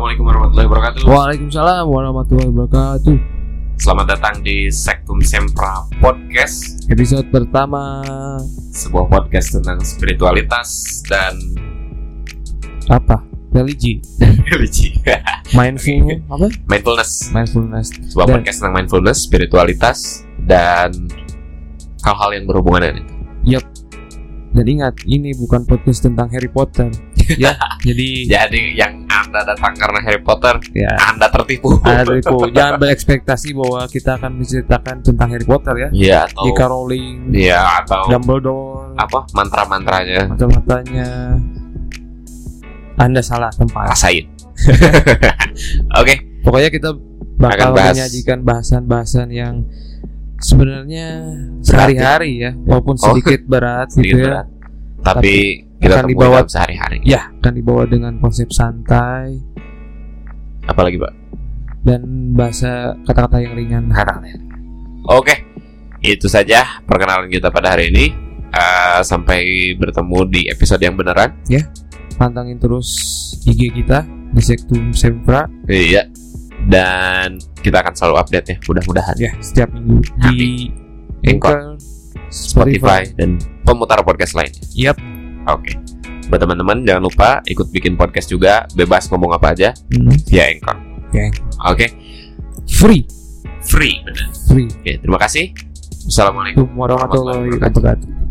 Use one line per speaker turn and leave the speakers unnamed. warahmatullahi wabarakatuh.
Waalaikumsalam warahmatullahi wabarakatuh.
Selamat datang di Sektum Sempra Podcast,
Episode pertama
sebuah podcast tentang spiritualitas dan
apa? Religi,
religi.
mindful apa?
mindfulness.
Mindfulness.
Sebuah
Dan-
podcast tentang mindfulness, spiritualitas dan hal-hal yang berhubungan dengan itu.
Dan ingat, ini bukan podcast tentang Harry Potter. ya, jadi
Jadi yang Anda datang karena Harry Potter,
ya.
Anda tertipu.
ada info. Jangan berekspektasi bahwa kita akan menceritakan tentang Harry Potter ya.
Iya atau
J.K. Rowling,
Iya atau
Dumbledore,
apa mantra-mantranya
mata-matanya. Anda salah tempat.
rasain. Oke,
Pokoknya kita
Akan
bakal
bahas.
menyajikan bahasan-bahasan yang sebenarnya sehari-hari ya, walaupun
Oh.
sedikit berat
sedikit
gitu ya.
berat. Tapi, kita
akan
temui
dibawa-
dalam sehari-hari.
Ya, akan dibawa dengan konsep santai
Apalagi pak?
dan bahasa kata-kata yang ringan.
ya. Oke, itu saja perkenalan kita pada hari ini. Eh, sampai bertemu di episode yang beneran.
Pantangin terus IG kita di Sektum Sempra
Iya. Dan kita akan selalu update ya, mudah-mudahan.
ya setiap minggu di Anchor,
Spotify dan pemutar podcast lain.
Yap.
Oke. Buat teman-teman jangan lupa ikut bikin podcast juga, bebas ngomong apa aja
Hmm,
via Ya, Anchor.
Oke.
Oke,
Free,
free. Bener.
free.
Oke, terima kasih. Assalamualaikum.
Assalamualaikum warahmatullahi wabarakatuh.